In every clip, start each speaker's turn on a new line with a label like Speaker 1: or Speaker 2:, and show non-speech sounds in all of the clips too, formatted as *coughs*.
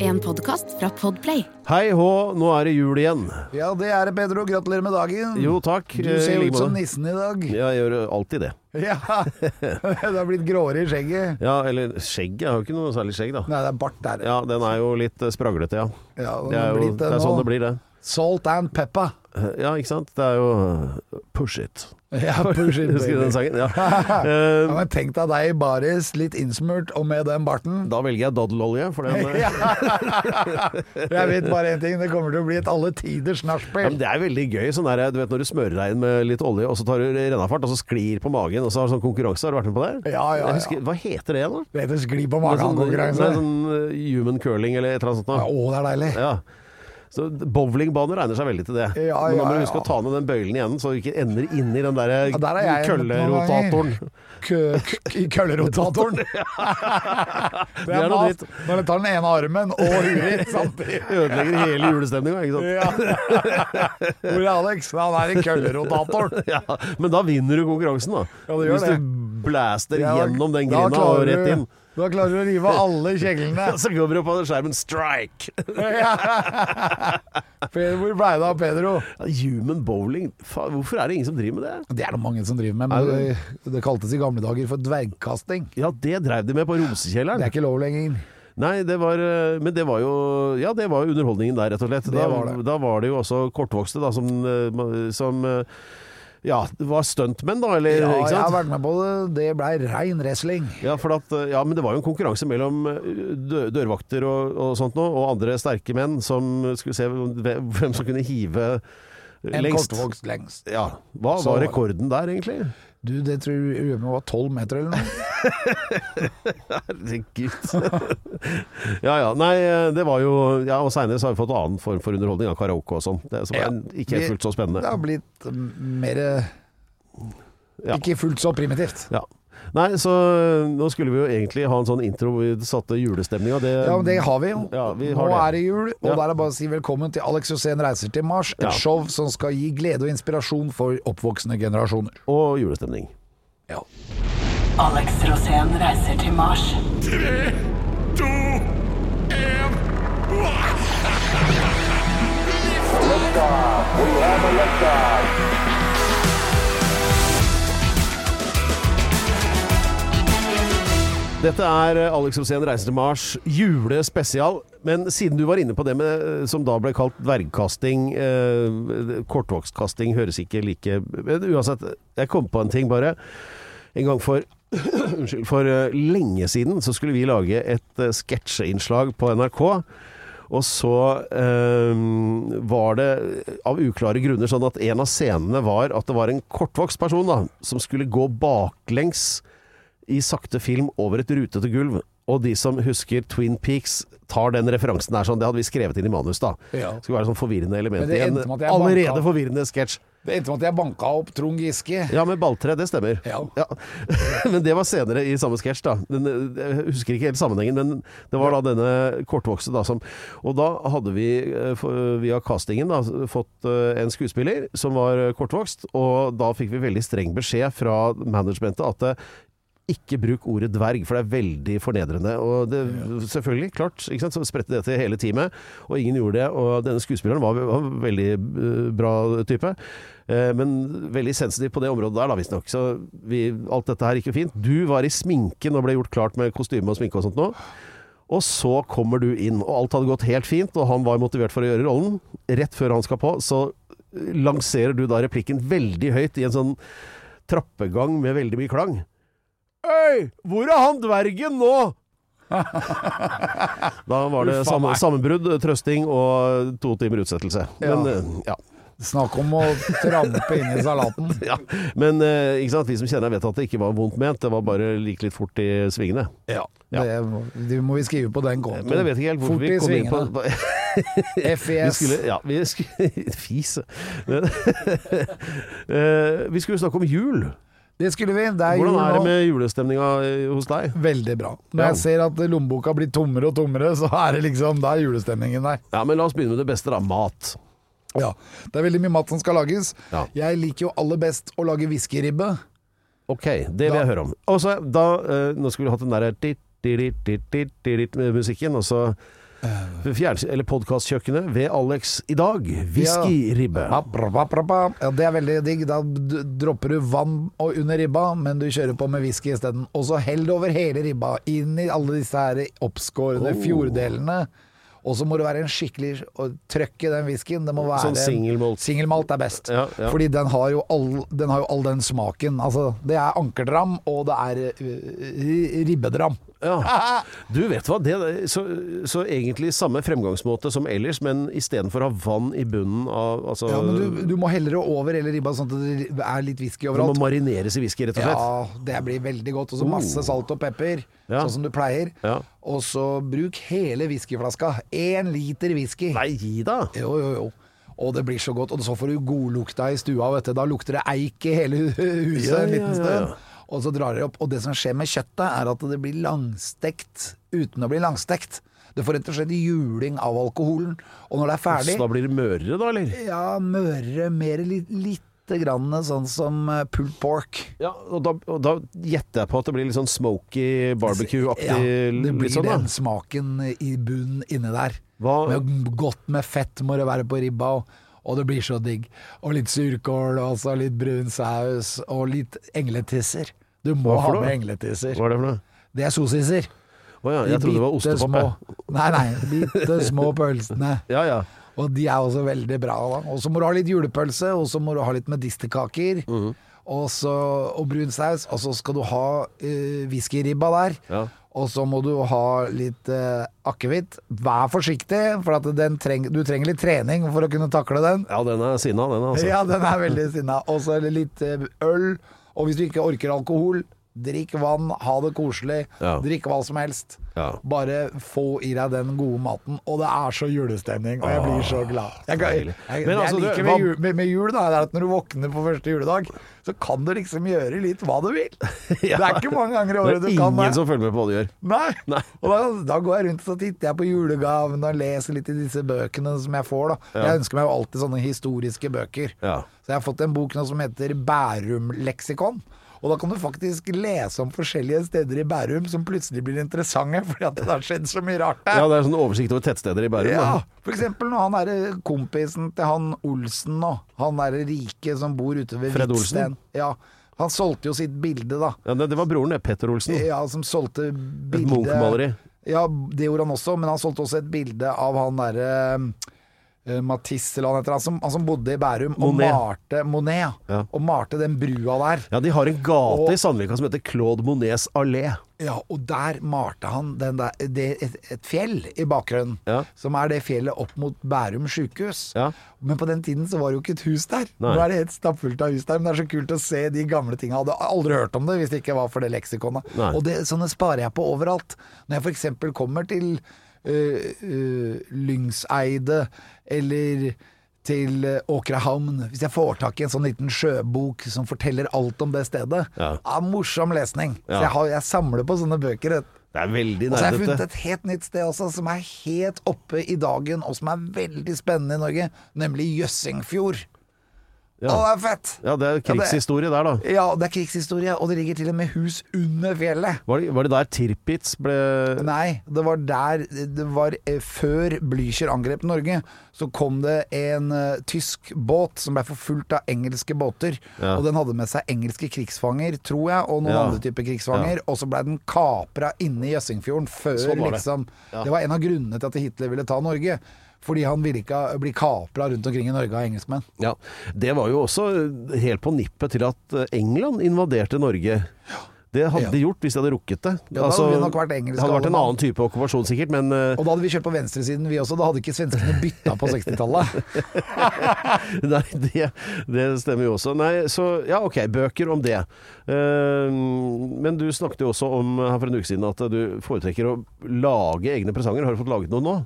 Speaker 1: En podkast fra Podplay.
Speaker 2: Hei hå, nå er det jul igjen.
Speaker 3: Ja, det er det, Pedro. Gratulerer med dagen.
Speaker 2: Jo takk.
Speaker 3: Du
Speaker 2: eh, i
Speaker 3: ser
Speaker 2: like
Speaker 3: ut som
Speaker 2: måte.
Speaker 3: nissen i dag.
Speaker 2: Ja, jeg gjør alltid det.
Speaker 3: *laughs* Ja, Du har blitt gråere i skjegget.
Speaker 2: Ja, eller skjegg. Jeg har jo ikke noe særlig skjegg, da.
Speaker 3: Nei, det er bart der.
Speaker 2: Ja, den er jo litt eh, spraglete, ja.
Speaker 3: Ja, den
Speaker 2: Det
Speaker 3: har
Speaker 2: er, jo,
Speaker 3: blitt
Speaker 2: det er
Speaker 3: nå.
Speaker 2: sånn det blir, det.
Speaker 3: Salt and pepper. *laughs*
Speaker 2: Ja, ikke sant? Det er jo eh, Push it.
Speaker 3: Ja,
Speaker 2: *laughs*
Speaker 3: push it,
Speaker 2: Husker du
Speaker 3: baby.
Speaker 2: den sangen? Ja.
Speaker 3: *laughs* Ja,
Speaker 2: Eh,
Speaker 3: men tenk deg deg i baris, litt innsmurt, og med den barten.
Speaker 2: Da velger jeg daddelolje, for den eh,
Speaker 3: *laughs* Ja. Jeg vet bare én ting, det kommer til å bli et alle tiders
Speaker 2: Ja, men
Speaker 3: nachspiel.
Speaker 2: det er veldig gøy. Sånn der, du vet når du smører deg inn med litt olje, og så tar du rennafart, og så sklir på magen, og så har du sånn konkurranse. Har du vært med på det? her?
Speaker 3: Ja, ja,
Speaker 2: Jeg
Speaker 3: ja.
Speaker 2: Husker, hva heter det igjen, da?
Speaker 3: Det heter skli på
Speaker 2: Det er
Speaker 3: magen-konkurranse.
Speaker 2: Sånn, nei, sånn eh, human curling eller et eller annet sånt.
Speaker 3: Ja,
Speaker 2: Da.
Speaker 3: å, det er deilig.
Speaker 2: Ja. Så bowlingbane regner seg veldig til det.
Speaker 3: Ja,
Speaker 2: Men da må
Speaker 3: ja,
Speaker 2: du huske
Speaker 3: ja.
Speaker 2: å ta ned den bøylen igjen, så du ikke ender inni den der, eh,
Speaker 3: Ja, der er jeg
Speaker 2: køllerotatoren.
Speaker 3: Kø- k- I
Speaker 2: *laughs*
Speaker 3: køllerotatoren. *laughs* Det
Speaker 2: er
Speaker 3: er
Speaker 2: noe
Speaker 3: mat når du tar den ene armen og huet
Speaker 2: *laughs*
Speaker 3: ditt samtidig.
Speaker 2: Ødelegger hele julestemninga, ikke sant.
Speaker 3: Ja. Hvor er Alex? Han er i køllerotatoren.
Speaker 2: *laughs* Ja, men da vinner du konkurransen, da.
Speaker 3: Ja, det gjør
Speaker 2: Hvis
Speaker 3: det.
Speaker 2: du blaster
Speaker 3: Ja, da-
Speaker 2: *laughs* gjennom den grinda
Speaker 3: da
Speaker 2: og
Speaker 3: klarer
Speaker 2: rett
Speaker 3: du-
Speaker 2: inn. *laughs*
Speaker 3: Da klarer du å rive av alle kjeglene.
Speaker 2: Så kommer det opp på skjermen 'strike'. *laughs*
Speaker 3: Per, Hvor blei det av Pedro?
Speaker 2: Ja, human bowling, faen, hvorfor er det ingen som driver med det?
Speaker 3: Det er det mange som driver med, men det, det kaltes i gamle dager for dvergkasting.
Speaker 2: Ja, det dreiv de med på
Speaker 3: Det er
Speaker 2: Rosekjelleren.
Speaker 3: ikke lov lenger.
Speaker 2: Nei, det var eh, Men det var jo Ja, det var jo underholdningen der, rett og slett. Da
Speaker 3: var det.
Speaker 2: da var det jo også kortvokste, da, som, eh, ma- som eh, Ja, det var stuntmenn, da, eller
Speaker 3: Ja,
Speaker 2: ikke
Speaker 3: jeg har
Speaker 2: sant?
Speaker 3: vært med på det. Det blei rein wrestling.
Speaker 2: Ja, for at, eh, ja, men det var jo en konkurranse mellom eh, dø- dørvakter og, og sånt nå, og andre sterke menn som skulle se hvem hvem som kunne hive eh,
Speaker 3: En
Speaker 2: lengst.
Speaker 3: kortvokst lengst.
Speaker 2: Ja. Hva
Speaker 3: Så-
Speaker 2: var rekorden der, egentlig?
Speaker 3: Du, det tror jeg UMO var tolv meter eller
Speaker 2: *laughs*
Speaker 3: noe.
Speaker 2: Herregud. ja ja. Nei, eh, det var jo Ja, og seinere så har vi fått annen form for underholdning, av karaoke og sånn. Det som
Speaker 3: Ja.
Speaker 2: er ikke helt fullt så
Speaker 3: Det
Speaker 2: spennende.
Speaker 3: har blitt mm, mer
Speaker 2: Ja.
Speaker 3: Ikke fullt så primitivt.
Speaker 2: Ja. Nei, så eh, nå skulle vi jo egentlig ha en sånn intro hvor vi satte julestemninga. Det,
Speaker 3: Ja, men det har vi jo.
Speaker 2: Um, Ja, vi
Speaker 3: Nå
Speaker 2: har
Speaker 3: er det jul, og
Speaker 2: Ja.
Speaker 3: der er det bare å si velkommen til Alex Josén reiser til Mars. Et
Speaker 2: Ja.
Speaker 3: show som skal gi glede og inspirasjon for oppvoksende generasjoner.
Speaker 2: Og julestemning.
Speaker 3: Ja.
Speaker 4: Alex Rosén reiser til Mars.
Speaker 2: Dette er eh, Alex Rosén reiser til Mars, julespesial. Men siden du var inne på det med, eh, som da ble kalt dvergkasting eh, Kortvokstkasting høres ikke like Men uansett, jeg kom på en ting bare. En gang for *coughs* Unnskyld. For eh, lenge siden så skulle vi lage et eh, sketsjeinnslag på NRK. Og så eh, var det eh, av uklare grunner sånn at en av scenene var at det var en kortvokst person da, som skulle gå baklengs i sakte film over et rutete gulv. Og de som husker Twin Peaks, tar den referansen der sånn. Det hadde vi skrevet inn i manus, da.
Speaker 3: Ja.
Speaker 2: Det skulle være sånn forvirrende
Speaker 3: Men
Speaker 2: element
Speaker 3: det
Speaker 2: i en
Speaker 3: endte med at jeg
Speaker 2: allerede
Speaker 3: banka.
Speaker 2: forvirrende sketsj.
Speaker 3: Det endte med at jeg banka opp Trond Giske.
Speaker 2: Ja, med balltre, det stemmer.
Speaker 3: Ja.
Speaker 2: *laughs* men det var senere i samme sketsj, da. Den, jeg husker ikke helt sammenhengen, men det var da denne kortvokste da som Og da hadde vi eh, for- via castingen da fått eh, en skuespiller som var eh, kortvokst, og da fikk vi veldig streng beskjed fra managementet at eh, ikke bruk ordet dverg, for det er veldig fornedrende. Og det, selvfølgelig, klart, ikke sant? så spredte det til hele teamet, og ingen gjorde det. Og denne skuespilleren var, var en veldig eh, bra type, eh, men veldig sensitiv på det området der, da, visstnok. Så vi, alt dette her gikk jo fint. Du var i sminken og ble gjort klart med kostyme og sminke og sånt nå. Og så kommer du inn, og alt hadde gått helt fint, og han var motivert for å gjøre rollen. Rett før han skal på, så eh, lanserer du da replikken veldig høyt i en sånn trappegang med veldig mye klang. Øy, hvor er han dvergen nå? *laughs* da var det
Speaker 3: Uffa
Speaker 2: samme,
Speaker 3: meg.
Speaker 2: sammenbrudd, trøsting og to timer utsettelse.
Speaker 3: Ja.
Speaker 2: Men, eh, ja.
Speaker 3: Snakk om å trampe inn i salaten.
Speaker 2: Ja. Men eh, ikke sant? vi som kjenner deg vet at det ikke var vondt ment, det var bare like litt fort i svingene.
Speaker 3: Ja.
Speaker 2: *laughs* Ja.
Speaker 3: Det, det må vi skrive på den kontoen.
Speaker 2: Men jeg vet ikke helt hvorfor
Speaker 3: Fort
Speaker 2: vi
Speaker 3: i
Speaker 2: kom inn på
Speaker 3: svingene.
Speaker 2: *laughs*
Speaker 3: E
Speaker 2: Vi
Speaker 3: FES.
Speaker 2: skulle, ja, vi *laughs* skulle Fise. Men, eh, vi skulle snakke om jul.
Speaker 3: Det skulle vi. Det er
Speaker 2: Hvordan
Speaker 3: jul
Speaker 2: er det
Speaker 3: nå.
Speaker 2: med julestemninga eh, hos deg?
Speaker 3: Veldig bra. Når jeg ser at lommeboka blir tommere og tommere, så er det liksom Da er julestemningen der.
Speaker 2: Ja, men La oss begynne med det beste, da. Mat.
Speaker 3: Ja. Det er veldig mye mat som skal lages.
Speaker 2: Ja.
Speaker 3: Jeg liker jo aller best å lage whiskyribbe.
Speaker 2: Ok, det vil jeg høre om. Og så da eh, Nå skulle vi hatt den der dit, dit, dit, dit, dit, dit, med musikken, og så
Speaker 3: Eh.
Speaker 2: Fjerns- eller Podkastkjøkkenet ved Alex i dag. Whiskyribbe.
Speaker 3: Ja, bra, bra, bra, bra. Ja, det er veldig digg. Da d- dropper du vann og under ribba, men du kjører på med whisky isteden. Og så hell det over hele ribba, inn i alle disse her oppskårne
Speaker 2: Oh.
Speaker 3: fjorddelene. Og så må det være en skikkelig og trøkk i den whiskyen. Det må være
Speaker 2: Sånn single malt.
Speaker 3: Single malt er best.
Speaker 2: Ja, ja.
Speaker 3: Fordi den har, jo all, den har jo all den smaken. Altså, det er ankerdram, og det er øh, ribbedram. *laughs*
Speaker 2: Ja. Du vet hva, det så, så egentlig samme fremgangsmåte som ellers, men istedenfor å ha vann i bunnen av altså,
Speaker 3: Ja, men du, du må helle det over hele ribba, sånn at det er litt whisky
Speaker 2: Det må
Speaker 3: overalt.
Speaker 2: marineres i whisky, rett og slett. Oh.
Speaker 3: Ja, det blir veldig godt. Og så masse salt og pepper,
Speaker 2: Ja.
Speaker 3: sånn som du pleier.
Speaker 2: Ja.
Speaker 3: Og så bruk hele whiskyflaska. Én liter whisky.
Speaker 2: Nei, gi da!
Speaker 3: Jo, jo, jo. Og det blir så godt. Og så får du godlukta i stua, vet du. Da lukter det eik i hele *laughs* hu-
Speaker 2: Ja,
Speaker 3: huset en
Speaker 2: ja, ja,
Speaker 3: liten stund.
Speaker 2: ja.
Speaker 3: Og så drar det opp. Og det som skjer med kjøttet, er at det blir langstekt uten å bli langstekt. Du får rett og slett juling av alkoholen. Og når det er ferdig
Speaker 2: Så da blir det mørere, da, eller?
Speaker 3: Ja, mørere, mer litt, lite grann sånn som eh, pulled pork.
Speaker 2: Ja, og da, og da gjetter jeg på at det blir litt sånn smoky barbecue-aktig.
Speaker 3: Ja, det blir
Speaker 2: litt sånn,
Speaker 3: den
Speaker 2: da.
Speaker 3: smaken i bunnen inni der.
Speaker 2: Hva-
Speaker 3: Med godt med fett må det være på ribba, og, og det blir så digg. Og litt surkål, og så litt brun saus, og litt engletisser. Du må
Speaker 2: Hva for
Speaker 3: ha
Speaker 2: noe?
Speaker 3: med engletisser.
Speaker 2: Hva er det for noe?
Speaker 3: Det er sosisser.
Speaker 2: Å ja, jeg
Speaker 3: De
Speaker 2: trodde det var
Speaker 3: bitte
Speaker 2: ostepop.
Speaker 3: små-
Speaker 2: jeg.
Speaker 3: Nei, nei. Bitte små pølsene.
Speaker 2: Ja, ja.
Speaker 3: Og de er også veldig bra. da. Og så må du ha litt julepølse, og så må du ha litt medisterkaker.
Speaker 2: Mhm.
Speaker 3: Og, så, og brun saus. Og så skal du ha eh, whiskyribba der.
Speaker 2: Ja.
Speaker 3: Og så må du ha litt eh, akevitt. Vær forsiktig, for at den treng, du trenger litt trening for å kunne takle den.
Speaker 2: ja, den er sinna, den, altså.
Speaker 3: Ja,
Speaker 2: *laughs*
Speaker 3: den er veldig sinna. Og så er det litt eh, øl. Og hvis du ikke orker alkohol, drikk vann, ha det koselig.
Speaker 2: Ja.
Speaker 3: Drikk hva som helst.
Speaker 2: Ja.
Speaker 3: Bare få i deg den gode maten. Og det er så julestemning, og jeg blir så glad. Jeg, kan- jeg,
Speaker 2: deilig.
Speaker 3: jeg,
Speaker 2: Men
Speaker 3: det
Speaker 2: altså,
Speaker 3: jeg
Speaker 2: du-
Speaker 3: liker
Speaker 2: hva-
Speaker 3: med jul, med, med jul da, er at når du våkner på første juledag, så kan du liksom gjøre litt hva du vil.
Speaker 2: *laughs*
Speaker 3: Det er ikke mange ganger i året du
Speaker 2: det er
Speaker 3: kan
Speaker 2: ingen
Speaker 3: det.
Speaker 2: som følger med på hva du gjør.
Speaker 3: Nei.
Speaker 2: Nei.
Speaker 3: Og da, da går jeg rundt og så titter jeg på julegavene og leser litt i disse bøkene som jeg får. Da. Jeg ønsker meg jo alltid sånne historiske bøker.
Speaker 2: Ja.
Speaker 3: Så jeg har fått en bok nå som heter Bærum-leksikon. Og da kan du faktisk lese om forskjellige steder i Bærum som plutselig blir interessante, *laughs* fordi at det har skjedd så mye rart der.
Speaker 2: Ja, det er sånn oversikt over tettsteder i Bærum.
Speaker 3: Ja,
Speaker 2: da.
Speaker 3: for eksempel når han er eh, kompisen til han Olsen nå, han er rike som bor ute ved
Speaker 2: Fred Olsen?
Speaker 3: Hvitsten. Ja, han solgte jo sitt bilde da.
Speaker 2: Ja, det, det var broren, det. Petter Olsen.
Speaker 3: Ja, som solgte bilde
Speaker 2: Munch-maleri.
Speaker 3: Ja, det gjorde han også, men han solgte også et bilde av han derre eh, Matisse, eller han heter han som, han som bodde i Bærum
Speaker 2: Monet.
Speaker 3: og malte Monet, ja.
Speaker 2: Ja.
Speaker 3: Og malte den brua der.
Speaker 2: Ja, de har en gate
Speaker 3: Og-
Speaker 2: i Sandvika som heter Claude Monets allé.
Speaker 3: Ja, og der malte han den der, det, et, et fjell i bakgrunnen,
Speaker 2: Ja.
Speaker 3: som er det fjellet opp mot Bærum sykehus.
Speaker 2: Ja.
Speaker 3: Men på den tiden så var det jo ikke et hus der.
Speaker 2: Nei.
Speaker 3: Nå er det helt stappfullt av hus der, men det er så kult å se de gamle tinga. Hadde aldri hørt om det hvis det ikke var for det leksikonet.
Speaker 2: Nei.
Speaker 3: Og det, sånne sparer jeg på overalt. Når jeg f.eks. kommer til øh, øh, Lyngseidet eller til øh, Åkrehamn. Hvis jeg får tak i en sånn liten sjøbok som forteller alt om det stedet.
Speaker 2: Ja.
Speaker 3: morsom lesning.
Speaker 2: Ja.
Speaker 3: Så jeg, har, jeg samler på sånne bøker. vet du.
Speaker 2: Det er veldig
Speaker 3: Og så har jeg funnet
Speaker 2: nerdete.
Speaker 3: et helt nytt sted også, som er helt oppe i dagen, og som er veldig spennende i Norge, nemlig Jøssingfjord. Å, det
Speaker 2: Ja.
Speaker 3: er fett!
Speaker 2: ja, det er krigshistorie der, da.
Speaker 3: Ja, det er krigshistorie, og det ligger til og med hus under fjellet.
Speaker 2: Var det, var det der Tirpitz ble
Speaker 3: Nei, det var der Det var eh, før Blücher angrep Norge, så kom det en eh, tysk båt som ble forfulgt av engelske båter.
Speaker 2: Ja.
Speaker 3: Og den hadde med seg engelske krigsfanger, tror jeg, og noen
Speaker 2: Ja.
Speaker 3: andre typer krigsfanger. Og så ble den kapra inne i Jøssingfjorden før
Speaker 2: Sånn var det.
Speaker 3: liksom
Speaker 2: Ja.
Speaker 3: Det var en av grunnene til at Hitler ville ta Norge. Fordi han ville ikke bli kapra rundt omkring i Norge av engelskmenn.
Speaker 2: Ja, Det var jo også helt på nippet til at eh, England invaderte Norge. Det hadde
Speaker 3: Ja.
Speaker 2: de gjort hvis de hadde rukket det. Altså,
Speaker 3: Ja, da hadde vi nok vært engelske
Speaker 2: det hadde vært en
Speaker 3: alle mann.
Speaker 2: annen type okkupasjon sikkert, men eh,
Speaker 3: Og da hadde vi kjørt på venstresiden, vi også. Da hadde ikke svenskene bytta på 60-tallet.
Speaker 2: *laughs* Nei, det, det stemmer jo også. Nei, så ja, ok, bøker om det. Eh, men du snakket jo også om her for en uke siden at du foretrekker å lage egne presanger. Har du fått laget noe nå?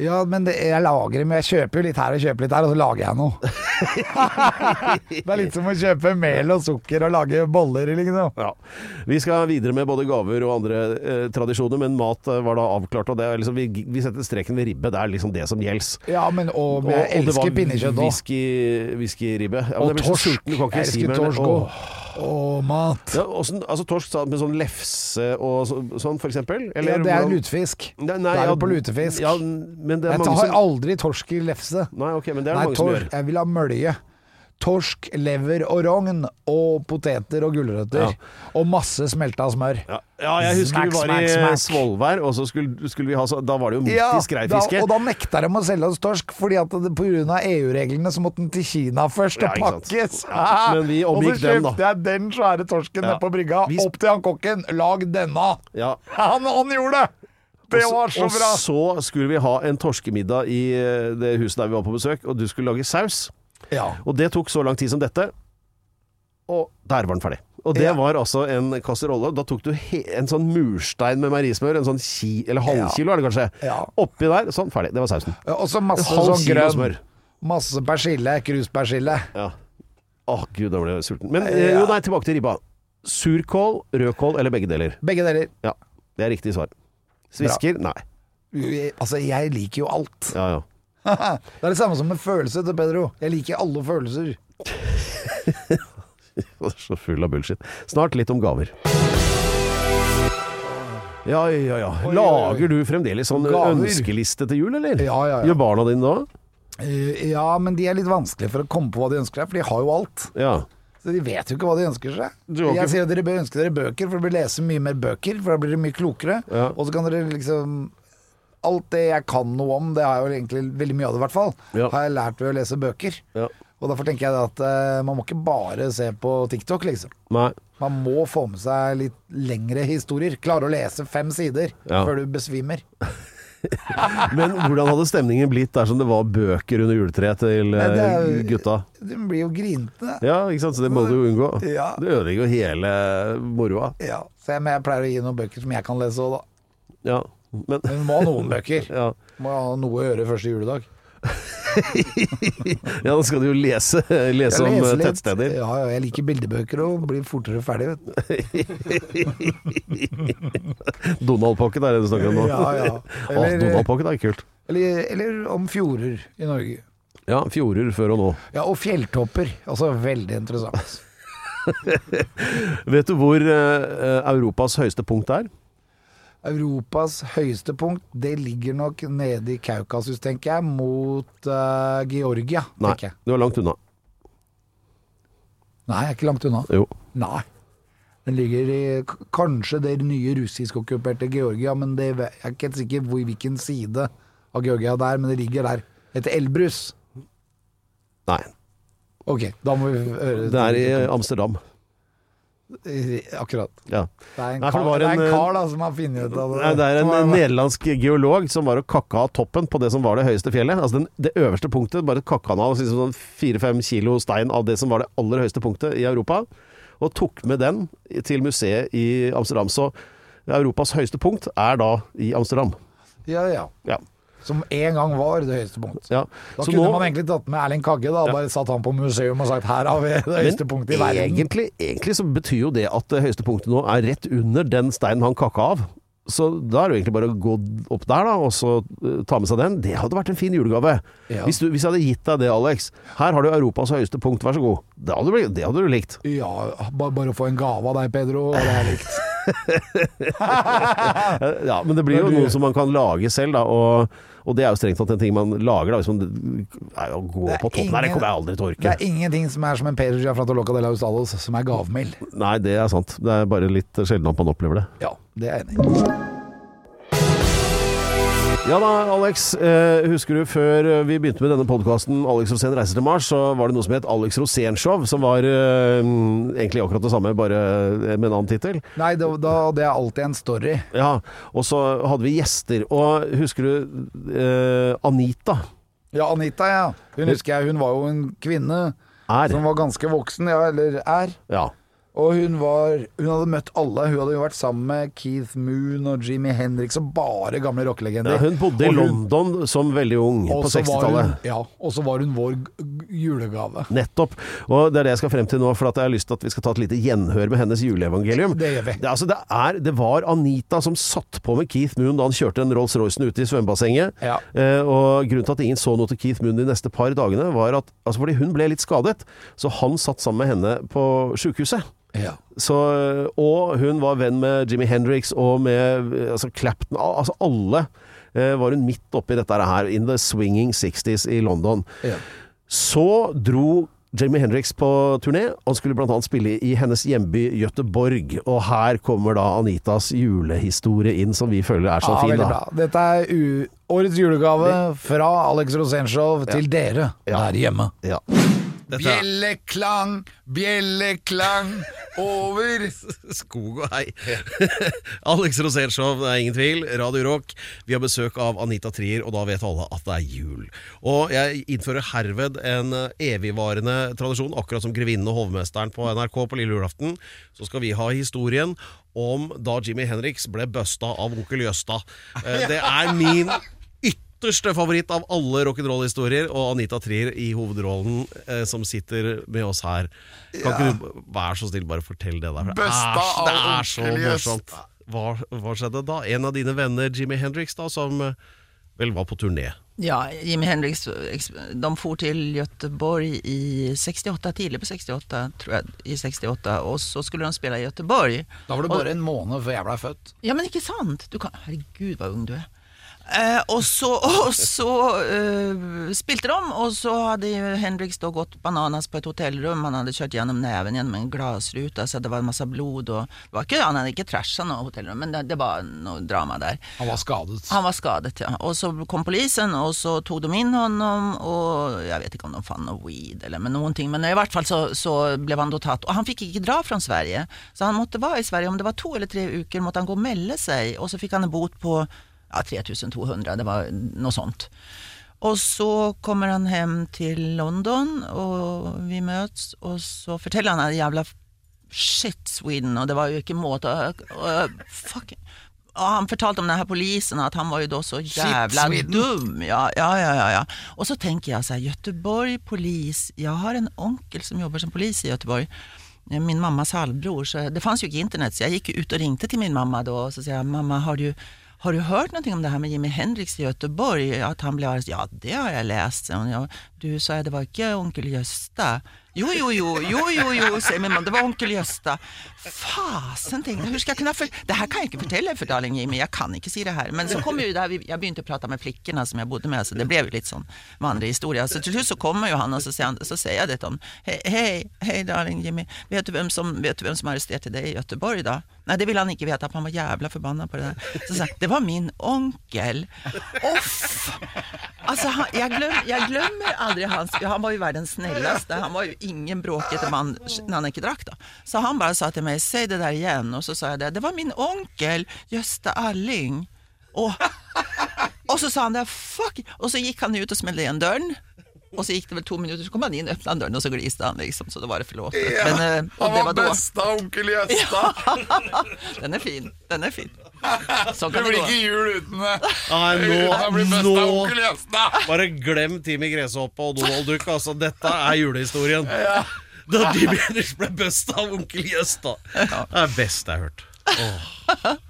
Speaker 3: Ja, men det, jeg lager dem. Jeg kjøper jo litt her og kjøper litt der, og så lager jeg noe.
Speaker 2: *laughs*
Speaker 3: det er litt som å kjøpe mel og sukker og lage boller, liksom.
Speaker 2: Ja. Vi skal videre med både gaver og andre eh, tradisjoner, men mat eh, var da avklart. Og det er liksom, vi, vi setter streken ved ribbe, det er liksom det som gjelder.
Speaker 3: Ja, men
Speaker 2: og
Speaker 3: og, jeg
Speaker 2: det var
Speaker 3: elsker pinnekjøtt òg.
Speaker 2: whisky- Whiskyribbe. Ja, men
Speaker 3: Og
Speaker 2: jeg blir så
Speaker 3: torsk.
Speaker 2: sulten, Du kan ikke
Speaker 3: Jeg
Speaker 2: si mer.
Speaker 3: elsker
Speaker 2: enn det.
Speaker 3: torsk
Speaker 2: Åh.
Speaker 3: òg. Og mat.
Speaker 2: Ja, åssen- altså torsk sa- med sånn lefse og så, sånn, for eksempel?
Speaker 3: Ja, det er
Speaker 2: hvordan-
Speaker 3: lutefisk.
Speaker 2: Nei,
Speaker 3: Det er jo
Speaker 2: ja,
Speaker 3: på lutefisk.
Speaker 2: Ja, men det er
Speaker 3: Jeg
Speaker 2: mange
Speaker 3: tar
Speaker 2: som
Speaker 3: aldri torsk i lefse.
Speaker 2: Nei, ok, men det er
Speaker 3: Nei,
Speaker 2: mange som
Speaker 3: torsk,
Speaker 2: gjør.
Speaker 3: jeg vil ha mølje. Torsk, lever og rogn, og poteter og gulrøtter.
Speaker 2: Ja.
Speaker 3: Og masse smelta smør.
Speaker 2: Ja, ja, jeg husker vi
Speaker 3: Smack,
Speaker 2: var i
Speaker 3: smack, smack.
Speaker 2: Svolvær, og så skulle, skulle vi ha så, Da var det jo mutti
Speaker 3: da,
Speaker 2: skreifiske.
Speaker 3: og da nekta de å selge oss torsk, fordi at det, på grunn av EU-reglene så måtte den til Kina først og
Speaker 2: Ja, ikke sant.
Speaker 3: pakkes.
Speaker 2: Ja, men vi
Speaker 3: og så
Speaker 2: omgikk den, da.
Speaker 3: kjøpte jeg den svære torsken
Speaker 2: Ja.
Speaker 3: nede på brygga.
Speaker 2: Vi sp-
Speaker 3: Opp til han kokken, lag denne! *laughs*
Speaker 2: Ja.
Speaker 3: Han, han gjorde det! Det var så
Speaker 2: og
Speaker 3: bra!
Speaker 2: så skulle vi ha en torskemiddag i eh, det huset der vi var på besøk, og du skulle lage saus.
Speaker 3: Ja.
Speaker 2: Og det tok så lang tid som dette, og der var den ferdig. Og det
Speaker 3: Ja.
Speaker 2: var altså en kasserolle. Da tok du he en sånn murstein med meierismør, en sånn ki eller halvkilo er det kanskje,
Speaker 3: Ja.
Speaker 2: oppi der. Sånn, ferdig. Det var sausen.
Speaker 3: Og så masse
Speaker 2: En halv
Speaker 3: sånn
Speaker 2: kilo
Speaker 3: grønn.
Speaker 2: smør.
Speaker 3: Masse persille, kruspersille.
Speaker 2: Ja. Å gud, da ble jeg sulten. Men eh, jo, nei, tilbake til ribba. Surkål, rødkål eller begge deler?
Speaker 3: Begge deler.
Speaker 2: Ja, det er riktig svar. Svisker? Nei.
Speaker 3: Altså, jeg liker jo alt.
Speaker 2: Ja, ja.
Speaker 3: Det er det samme som med følelse til Pedro. Jeg liker alle følelser.
Speaker 2: *laughs* Så full av bullshit. Snart litt om gaver. Ja, ja, ja.
Speaker 3: oi, oi.
Speaker 2: Lager du fremdeles sånn
Speaker 3: Gaver.
Speaker 2: ønskeliste til jul, eller?
Speaker 3: Ja, ja, ja.
Speaker 2: Gjør barna dine da?
Speaker 3: Eh, Ja, men de er litt vanskelig for å komme på hva de ønsker seg, for de har jo alt.
Speaker 2: Ja.
Speaker 3: Så de vet jo ikke hva de ønsker seg.
Speaker 2: Du har ikke-
Speaker 3: Jeg sier at dere bør ønske dere bøker, for dere bør lese mye mer bøker, for da blir dere mye klokere.
Speaker 2: Ja.
Speaker 3: Og så kan dere liksom Alt det jeg kan noe om, det har jeg jo egentlig veldig mye av det, i hvert fall,
Speaker 2: Ja.
Speaker 3: har jeg lært ved å lese bøker.
Speaker 2: Ja.
Speaker 3: Og derfor tenker jeg at eh, man må ikke bare se på TikTok, liksom.
Speaker 2: Nei.
Speaker 3: Man må få med seg litt lengre historier. Klare å lese fem sider
Speaker 2: Ja.
Speaker 3: før du besvimer.
Speaker 2: Men hvordan hadde stemningen blitt dersom det var bøker under juletreet til
Speaker 3: Nei, det er
Speaker 2: eh,
Speaker 3: jo-
Speaker 2: gutta?
Speaker 3: Du blir jo grinete. Ja.
Speaker 2: Ja, ikke sant? Så det må du jo unngå.
Speaker 3: Ja.
Speaker 2: Det ødelegger jo hele moroa.
Speaker 3: Så jeg, men jeg pleier å gi noen bøker som jeg kan lese òg, da.
Speaker 2: Ja. Men
Speaker 3: Men vi må ha noen bøker.
Speaker 2: ja.
Speaker 3: Må ha noe å gjøre første juledag.
Speaker 2: ja, da skal du jo lese, lese om eh,
Speaker 3: leser litt.
Speaker 2: tettsteder.
Speaker 3: Ja, ja, jeg liker bildebøker og blir fortere ferdig, vet du.
Speaker 2: Donald-pocket er det du snakker om nå.
Speaker 3: *laughs* Ja, ja.
Speaker 2: *laughs* Å,
Speaker 3: Eller-
Speaker 2: Donald-pocket er kult.
Speaker 3: Eller, eller om fjorder i Norge.
Speaker 2: Ja, fjorder før og nå.
Speaker 3: Ja, og fjelltopper. Altså, veldig interessant.
Speaker 2: *laughs* Vet du hvor eh, Europas høyeste punkt er?
Speaker 3: Europas høyeste punkt, det ligger nok nede i Kaukasus, tenker jeg, mot eh, Georgia.
Speaker 2: Nei,
Speaker 3: tenker jeg.
Speaker 2: du er langt unna.
Speaker 3: Nei, jeg er ikke langt unna.
Speaker 2: Jo.
Speaker 3: Nei. Den ligger i k- kanskje det nye russiskokkuperte Georgia, men det, ve- jeg er ikke helt sikker hvor, hvilken side av Georgia det er, men det ligger der. Etter Elbrus.
Speaker 2: Nei,
Speaker 3: Ok, da må vi høre
Speaker 2: det er i eh, Amsterdam.
Speaker 3: Akkurat.
Speaker 2: Ja.
Speaker 3: Det er en,
Speaker 2: Nei, for det
Speaker 3: kar,
Speaker 2: var
Speaker 3: det er
Speaker 2: en, eh,
Speaker 3: en kar da som har funnet ut av det.
Speaker 2: Nei, det er en
Speaker 3: Som har-
Speaker 2: nederlandsk geolog som var og kakka av toppen på det som var det høyeste fjellet. Altså den, det øverste punktet, bare kakka han av liksom sånn fire-fem kilo stein av det som var det aller høyeste punktet i Europa, og tok med den til museet i Amsterdam. Så Europas høyeste punkt er da i Amsterdam.
Speaker 3: Ja, ja.
Speaker 2: Ja.
Speaker 3: Som en gang var det høyeste punkt.
Speaker 2: ja.
Speaker 3: Da
Speaker 2: Så
Speaker 3: kunne
Speaker 2: nå-
Speaker 3: man egentlig tatt med Erling Kagge, da. Bare satt han på museum og sagt 'her har vi det høyeste punktet i verden'.
Speaker 2: Egentlig, egentlig så betyr jo det at det høyeste punktet nå er rett under den steinen han kakka av. Så da er det jo egentlig bare å gå opp der da, og så eh, ta med seg den. Det hadde vært en fin julegave.
Speaker 3: Ja.
Speaker 2: Hvis, du, hvis jeg hadde gitt deg det, Alex. Her har du Europas høyeste punkt, vær så god. Det hadde, du blitt- det hadde du
Speaker 3: *laughs*
Speaker 2: likt.
Speaker 3: Ja, bare, bare å få en gave av deg, Pedro, hadde jeg likt.
Speaker 2: Eh, Ja, men det blir jo noe som man kan lage selv, da. Og, og det er jo strengt tatt en ting man lager, da. Hvis man nei, å gå
Speaker 3: Det er
Speaker 2: på toppen her, det
Speaker 3: ingen-
Speaker 2: kommer jeg aldri til å
Speaker 3: Det
Speaker 2: orke.
Speaker 3: er ingenting som er som en Pedro Gia fra Toloca de la Hustados, som er gavmild.
Speaker 2: Nei, det er sant. Det er bare litt sjelden at man opplever det.
Speaker 3: Ja, det er jeg enig i.
Speaker 2: Ja da, Alex. Eh, husker du før vi begynte med denne podkasten 'Alex Rosén reiser til Mars', så var det noe som het Alex Rosén-show, som var eh, egentlig akkurat det samme, bare eh, med en annen tittel.
Speaker 3: Nei, det, da, det er alltid en story.
Speaker 2: Ja, og så hadde vi gjester. Og husker du eh, Anita
Speaker 3: Ja, Anita, ja. Hun husker jeg, hun var jo en kvinne
Speaker 2: er
Speaker 3: som var ganske voksen, ja, eller er.
Speaker 2: Ja.
Speaker 3: Og hun var Hun hadde møtt alle. Hun hadde jo vært sammen med Keith Moon og Jimmy Henrik, som bare gamle
Speaker 2: Ja,
Speaker 3: rockelegender.
Speaker 2: hun bodde i
Speaker 3: Og hun-
Speaker 2: London som veldig ung,
Speaker 3: og
Speaker 2: på
Speaker 3: så var hun-
Speaker 2: 60-tallet.
Speaker 3: Ja, og så var hun vår g- g- julegave.
Speaker 2: Nettopp. Og det er det jeg skal frem til nå, for at jeg har lyst til at vi skal ta et lite gjenhør med hennes juleevangelium.
Speaker 3: Det gjør vi.
Speaker 2: Det, er altså, det, er, det var Anita som satt på med Keith Moon da han kjørte den Rolls-Roycen ut i svømmebassenget.
Speaker 3: Ja.
Speaker 2: Eh, og grunnen til at ingen så noe til Keith Moon de neste par dagene, var at altså fordi hun ble litt skadet, så han satt sammen med henne på sjukehuset.
Speaker 3: Ja.
Speaker 2: Så, eh, og hun var venn med Jimmy Hendrix og med eh, altså Clapton al- Altså alle eh, var hun midt oppi dette her, in the swinging 60s i London.
Speaker 3: Ja.
Speaker 2: Så dro Jimmy Hendrix på turné. Han skulle bl.a. spille i hennes hjemby Gøteborg. Og her kommer da Anitas julehistorie inn, som vi føler er så
Speaker 3: Ja,
Speaker 2: fin.
Speaker 3: Ah, veldig
Speaker 2: Da.
Speaker 3: bra. Dette er u årets julegave fra Alex Rosénshow til dere der hjemme.
Speaker 2: Ja.
Speaker 3: Bjelleklang, bjelleklang over
Speaker 2: *laughs* Skog og hei. Alex Rosénshow, det er ingen tvil. Radio Rock. Vi har besøk av Anita Trier, og da vet alle at det er jul. Og jeg innfører herved en eh, evigvarende tradisjon, akkurat som Grevinnen og hovmesteren på NRK på lille julaften. Så skal vi ha historien om da Jimmy Henriks ble busta av onkel Jøsta. Eh, Det er min ytterste favoritt av alle rock'n'roll-historier, og Anita Trier i hovedrollen eh, som sitter med oss her. Kan ikke du være så snill, bare fortell det der? for Det er,
Speaker 5: Busta
Speaker 2: det
Speaker 5: av
Speaker 2: er så
Speaker 5: onkel Jøsta.
Speaker 2: morsomt. Hva, hva skjedde da? En av dine venner, Jimmy Hendrix, da, som eh, vel var på turné.
Speaker 6: Ja, Jimmy Hendrix eks- De for til Göteborg i 68, tidlig på 68, tror jeg. I 68, og så skulle de spille i Göteborg.
Speaker 3: Da var det bare en måned før jeg blei født.
Speaker 6: Ja, men ikke sant? Du kan, herregud, hva ung du er. Eh, og så, og så eh, spilte de, og så hadde jo Hendrix da gått bananas på et hotellrom. Han hadde kjørt gjennom neven gjennom en glassruta, så det var masse blod. Og det var ikke, han hadde ikke trashet noe hotellrom, men det, det var noe drama der.
Speaker 3: Han var skadet.
Speaker 6: Han var skadet, ja. Og så kom polisen, og så tok de inn honom, og jeg vet ikke om de fant noe weed eller men noen ting, men i hvert fall så, så ble han da tatt. Og han fikk ikke dra fra Sverige, så han måtte være i Sverige. Om det var to eller tre uker, måtte han gå og melde seg, og så fikk han en bot på ja, 3200, det var noe sånt. Og så kommer han hjem til London, og vi møtes, og så forteller han en jævla Shit, Sweden, og det var jo ikke måte å- å- Fuck. Og han fortalte om den her polisen, at han var jo da så jævla dum. Ja, ja, ja, ja, ja. Og så tenker jeg så her, Göteborg polis Jeg har en onkel som jobber som polis i Göteborg. Min mammas halvbror. Så det fanns jo ikke internett, så jeg gikk jo ut og ringte til min mamma da, og så sier jeg mamma, har du har du hørt noe om det her med Jimmy Hendrix i Göteborg? At han ble arrestert? Ja, det har jeg lest. sier hun. Ja, Du sa jeg det var ikke onkel Gösta. Jo, jo, jo, jo, jo, jo, sier min mann. Det var onkel Gösta. Fasen, tenkte jeg. Hvordan skal jeg kunne for... Det her kan jeg ikke fortelle for darling Jimmy. Jeg kan ikke si det her. Men så kom jo det her, vi- jeg begynte å prate med flikkene som jeg bodde med, så det ble jo litt sånn med andre historier. Så til slutt så kommer jo han, og så sier, han, så sier jeg dette om Hei, hei, hei, darling Jimmy. Vet du hvem som, vet du hvem som arresterte deg i Göteborg da? Nei, det ville han ikke vite, for han var jævla forbanna på det der. Så sa han, det var min onkel. Off! Altså, han, jeg, glöm, jeg glemmer aldri hans Han var jo verdens snilleste. Han var jo ingen bråkete mann når han ikke drakk, da. Så han bare sa til meg 'si det der igjen', og så sa jeg det. Det var min onkel Gösta Alling. Og, og så sa han det, fuck! Og så gikk han ut og smelte igjen døren. Og så gikk det vel to minutter, så kom han inn, åpna døren, og så gliste han, liksom. Så det var forlåtet. Men, eh, og det var da.
Speaker 5: besta onkel Gjøsta.
Speaker 6: *laughs* Den er fin. Den er fin. Sånn
Speaker 5: Det
Speaker 6: kan det
Speaker 5: blir
Speaker 6: gå.
Speaker 5: ikke jul uten det.
Speaker 7: Nei,
Speaker 2: *laughs*
Speaker 5: Han blir besta onkel
Speaker 7: nå
Speaker 5: Gjøsta.
Speaker 7: Bare glem Timmy Gresshoppe og Donald Duck. Altså, dette er
Speaker 2: *laughs*
Speaker 7: julehistorien. Da Jimmy Hendrix ble busta av onkel Jøsta. Det er best jeg har hørt.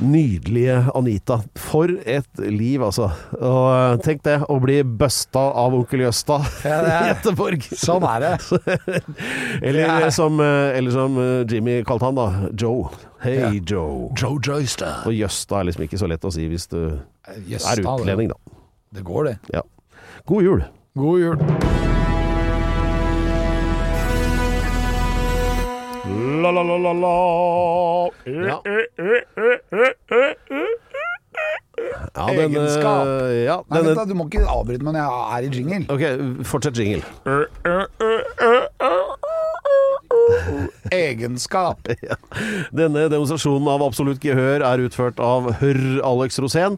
Speaker 2: Nydelige Anita. For et liv, altså. Og tenk det, å bli busta av onkel Jøsta
Speaker 3: Ja, det
Speaker 2: *laughs* i
Speaker 3: er-
Speaker 2: Gøteborg.
Speaker 3: Sånn er det.
Speaker 2: *laughs* Eller,
Speaker 3: Ja.
Speaker 2: som, eh, eller som eh, Jimmy kalte han, da. Joe. Hei,
Speaker 3: Ja.
Speaker 2: Joe.
Speaker 3: Joe Joyster.
Speaker 2: Og Jøsta er liksom ikke så lett å si hvis du
Speaker 3: Jøss,
Speaker 2: er
Speaker 3: da, Eh, det-
Speaker 2: utlending, da.
Speaker 3: Det går, det.
Speaker 2: Ja. God jul.
Speaker 3: God jul.
Speaker 2: Ja. Ja, den, eh,
Speaker 3: Egenskap.
Speaker 2: Ja,
Speaker 3: Nei,
Speaker 2: den,
Speaker 3: vent da, du må ikke avbryte meg når jeg er i jingle.
Speaker 2: ok, fortsett jingle. *laughs*
Speaker 3: egenskap.
Speaker 2: Denne demonstrasjonen av absolutt gehør er utført av Hørr Alex Rosén,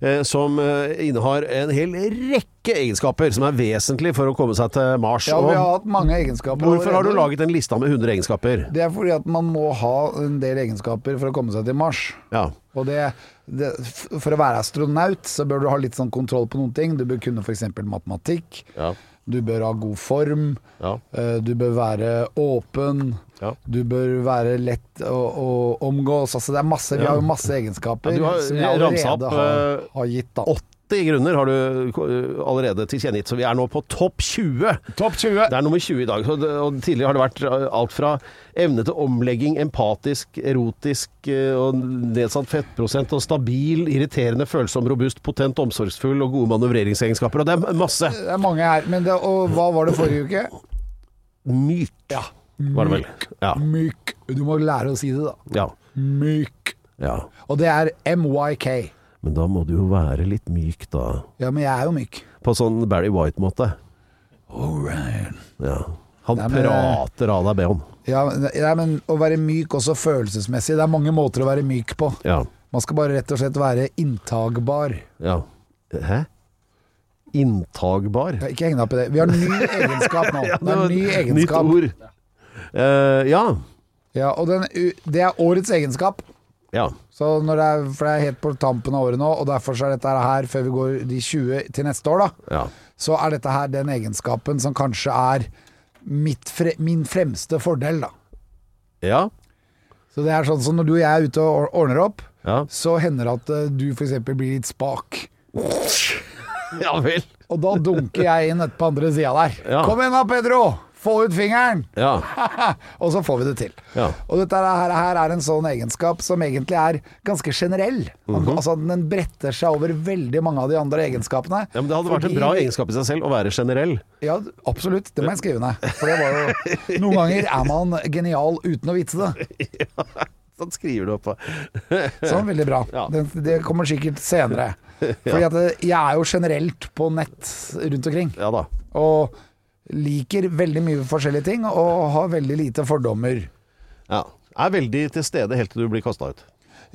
Speaker 2: eh, som eh, innehar en hel rekke egenskaper som er vesentlig for å komme seg til Mars.
Speaker 3: Ja, vi har
Speaker 2: Og
Speaker 3: hatt mange egenskaper.
Speaker 2: hvorfor har du
Speaker 3: allerede.
Speaker 2: laget en lista med 100 egenskaper?
Speaker 3: Det er fordi at man må ha en del egenskaper for å komme seg til Mars.
Speaker 2: Ja.
Speaker 3: Og det, det, f- for å være astronaut så bør du ha litt sånn kontroll på noen ting. Du bør kunne f.eks. matematikk.
Speaker 2: Ja.
Speaker 3: Du bør ha god form.
Speaker 2: Ja.
Speaker 3: Eh, Du bør være åpen.
Speaker 2: Ja.
Speaker 3: Du bør være lett å, å omgås. Altså det er masse, vi har jo masse egenskaper
Speaker 2: Ja, du har
Speaker 3: som vi allerede
Speaker 2: ramsa opp,
Speaker 3: har,
Speaker 2: eh,
Speaker 3: har gitt. Da.
Speaker 2: 80 grunner har du eh, allerede tilkjennegitt, så vi er nå på topp 20.
Speaker 3: Topp 20!
Speaker 2: Det er nummer 20 i dag. så det- Og tidligere har det vært eh, alt fra evne til omlegging, empatisk, erotisk eh, og nedsatt fettprosent og stabil, irriterende, følsom, robust, potent, omsorgsfull og gode manøvreringsegenskaper. Og det er masse.
Speaker 3: Det er mange her. Men det, og hva var det forrige uke?
Speaker 2: Myk, var det vel. Ja.
Speaker 3: Myk. Du må lære å si det, da.
Speaker 2: ja.
Speaker 3: Myk.
Speaker 2: ja.
Speaker 3: Og det er MYK.
Speaker 2: Men da må du jo være litt myk, da.
Speaker 3: Ja, men jeg er jo myk.
Speaker 2: På sånn Barry White-måte. Oh, Ja. Han
Speaker 3: Nei, men- eh,
Speaker 2: prater av deg, Beon.
Speaker 3: Ja, nei, men å være myk også følelsesmessig. Det er mange måter å være myk på.
Speaker 2: Ja.
Speaker 3: Man skal bare rett og slett være inntagbar.
Speaker 2: ja. Hæ? Inntagbar?
Speaker 3: Ja, Ikke heng deg opp i det. Vi har ny
Speaker 2: *laughs*
Speaker 3: egenskap nå. Det er en ny
Speaker 2: Nytt
Speaker 3: egenskap.
Speaker 2: ord. Eh, ja.
Speaker 3: Ja, og den, u- det er årets egenskap.
Speaker 2: ja.
Speaker 3: Så når det er, for det er helt på tampen av året nå, og derfor så er dette her før vi går de 20 til neste år, da.
Speaker 2: Ja.
Speaker 3: Så er dette her den egenskapen som kanskje er mitt fre, min fremste fordel, da.
Speaker 2: Ja.
Speaker 3: Så det er sånn som når du og jeg er ute og or- ordner opp,
Speaker 2: Ja.
Speaker 3: så hender det at eh, du f.eks. blir litt spak.
Speaker 2: ja vel.
Speaker 3: Og da dunker jeg inn et på andre sida der.
Speaker 2: *laughs* Ja.
Speaker 3: Kom igjen da, Pedro! Få ut fingeren!
Speaker 2: Ja.
Speaker 3: *laughs* og så får vi det til.
Speaker 2: Ja.
Speaker 3: Og dette her, her er en sånn egenskap som egentlig er ganske generell.
Speaker 2: Mhm.
Speaker 3: Altså Den bretter seg over veldig mange av de andre egenskapene.
Speaker 2: ja, men Det hadde vært en
Speaker 3: Fordi-
Speaker 2: bra egenskap i seg selv å være generell.
Speaker 3: Ja, absolutt. Det må jeg skrive ned. For det var
Speaker 2: *laughs*
Speaker 3: jo Noen ganger er man genial uten å vite det.
Speaker 2: Sånn skriver du opp.
Speaker 3: Sånn, veldig bra.
Speaker 2: Ja.
Speaker 3: Det, det kommer
Speaker 2: *laughs*
Speaker 3: sikkert senere. Fordi at eh, jeg er jo generelt på nett rundt omkring.
Speaker 2: Ja da.
Speaker 3: og liker veldig mye forskjellige ting og har veldig lite fordommer.
Speaker 2: Ja. Er veldig til stede helt til du blir kasta ut.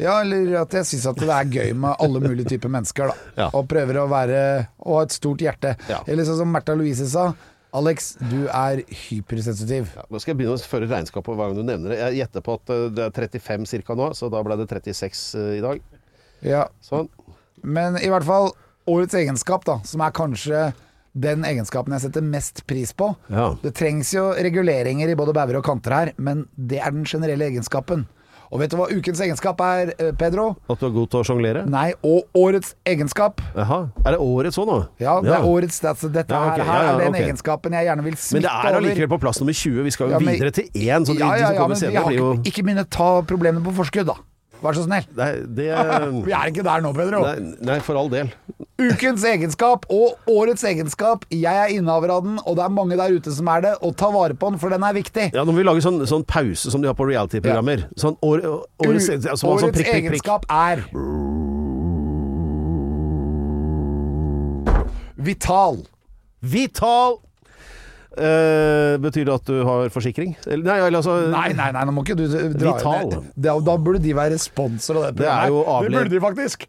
Speaker 3: Ja, eller at jeg syns at det er gøy med alle mulige typer mennesker, da.
Speaker 2: Ja.
Speaker 3: Og prøver å være og ha et stort hjerte.
Speaker 2: Ja.
Speaker 3: Eller sånn som Märtha Louise sa. Alex, du er hypersensitiv.
Speaker 2: Ja, nå skal jeg begynne å føre regnskap på hver gang du nevner det. Jeg gjetter på at eh, det er 35 ca. nå, så da ble det 36 i dag.
Speaker 3: Ja.
Speaker 2: Sånn.
Speaker 3: Men i hvert fall årets egenskap, da, som er kanskje den egenskapen jeg setter mest pris på.
Speaker 2: Ja.
Speaker 3: Det trengs jo reguleringer i både bauger og kanter her, men det er den generelle egenskapen. Og vet du hva ukens egenskap er, eh, Pedro?
Speaker 2: At du er god til å sjonglere?
Speaker 3: Nei, og årets egenskap.
Speaker 2: Jaha. Er det årets òg nå?
Speaker 3: Ja, det er årets stats. Dette
Speaker 2: Ja, ok.
Speaker 3: her, her
Speaker 2: Ja, ja,
Speaker 3: er den
Speaker 2: ok.
Speaker 3: egenskapen jeg gjerne vil
Speaker 2: Men
Speaker 3: smitte
Speaker 2: det er
Speaker 3: over.
Speaker 2: allikevel på plass nummer 20. Vi skal jo
Speaker 3: Ja, men-
Speaker 2: videre til én, så de,
Speaker 3: ja, ja,
Speaker 2: de som
Speaker 3: ja,
Speaker 2: kommer
Speaker 3: men vi
Speaker 2: senere,
Speaker 3: har
Speaker 2: blir jo
Speaker 3: ikke, ikke minne ta problemene på forskudd, da. Vær så snill.
Speaker 2: Nei, det
Speaker 3: *laughs* Vi er ikke der nå, Pedro.
Speaker 2: Ehm. nei, nei, for all del.
Speaker 3: Ukens egenskap og årets egenskap. Jeg er innehaver av den, og det er mange der ute som er det. Og ta vare på den, for den er viktig.
Speaker 2: Ja, Nå må vi lage sånn, sånn pause som de har på reality-programmer. Sånn år, årets,
Speaker 3: U-
Speaker 2: altså, sånn
Speaker 3: årets
Speaker 2: prikk, prikk, prikk.
Speaker 3: egenskap er Vital.
Speaker 2: Vital! Eh, betyr det at du har forsikring? Eller, nei, eller altså
Speaker 3: Nei, nei, nei, nå må ikke du dra
Speaker 2: Vital.
Speaker 3: inn det. Da- Da burde de være sponsor av det
Speaker 2: Det er
Speaker 3: programmet.
Speaker 2: jo
Speaker 3: her.
Speaker 2: avled-
Speaker 3: det burde de faktisk.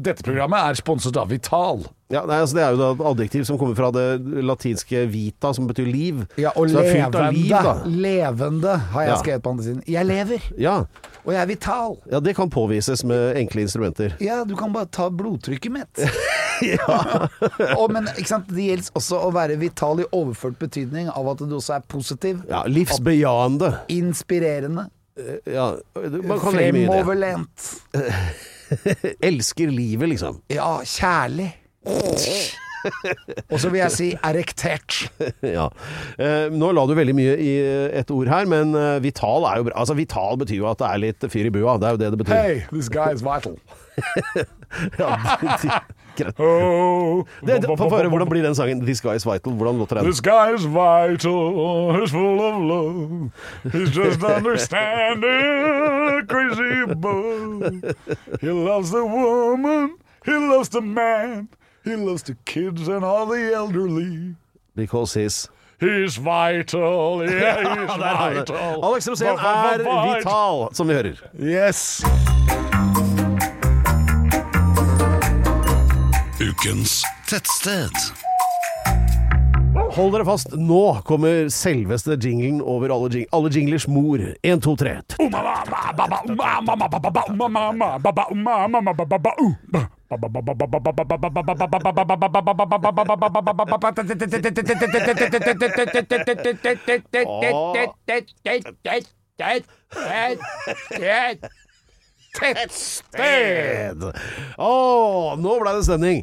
Speaker 3: Dette programmet er sponset av Vital.
Speaker 2: Ja, nei, altså, Det er jo da et adjektiv som kommer fra det latinske vita, som betyr liv.
Speaker 3: Ja, og
Speaker 2: Så det er fylt
Speaker 3: levende,
Speaker 2: av liv, da.
Speaker 3: levende har jeg
Speaker 2: Ja.
Speaker 3: skrevet på andre siden. Jeg lever,
Speaker 2: Ja,
Speaker 3: og jeg er vital.
Speaker 2: ja, det kan påvises med enkle instrumenter.
Speaker 3: Ja, du kan bare ta blodtrykket mitt.
Speaker 2: *laughs*
Speaker 3: *laughs* og, men ikke sant? det gjelder også å være vital i overført betydning av at du også er positiv,
Speaker 2: Ja, Livsbejaende.
Speaker 3: inspirerende,
Speaker 2: Ja, man kan legge mye i det.
Speaker 3: fremoverlent,
Speaker 2: Elsker livet, liksom. *laughs*
Speaker 3: ja, kjærlig. Og så vil jeg si erektert.
Speaker 2: Ja. Eh, nå la du veldig mye i et ord her, men eh, vital er jo bra. Altså, vital betyr jo at det er litt fyr i bua. Det er jo det det betyr.
Speaker 3: this guy is
Speaker 5: *laughs*
Speaker 3: vital.
Speaker 2: *laughs* Ja, greit.
Speaker 5: Oh,
Speaker 2: Det, det, få høre, hvordan blir den sangen? This Guy Is Vital. Hvordan låter den?
Speaker 5: guy is vital, he's full of love. He's
Speaker 3: *laughs*
Speaker 5: just understanding, crazy boy. He loves the woman, he loves the man, he loves the kids and all the elderly.
Speaker 2: Because he's
Speaker 5: He's vital, yeah,
Speaker 3: *laughs*
Speaker 5: he's
Speaker 2: Der har vi det.
Speaker 5: vital.
Speaker 2: Alex Rosén er vital, som vi hører.
Speaker 5: Yes.
Speaker 8: Ukens tettsted.
Speaker 2: Hold dere fast, nå kommer selveste jinglen over alle, jing alle jinglers mor. 1, 2, 3. Tettsted! Å, nå ble det stemning.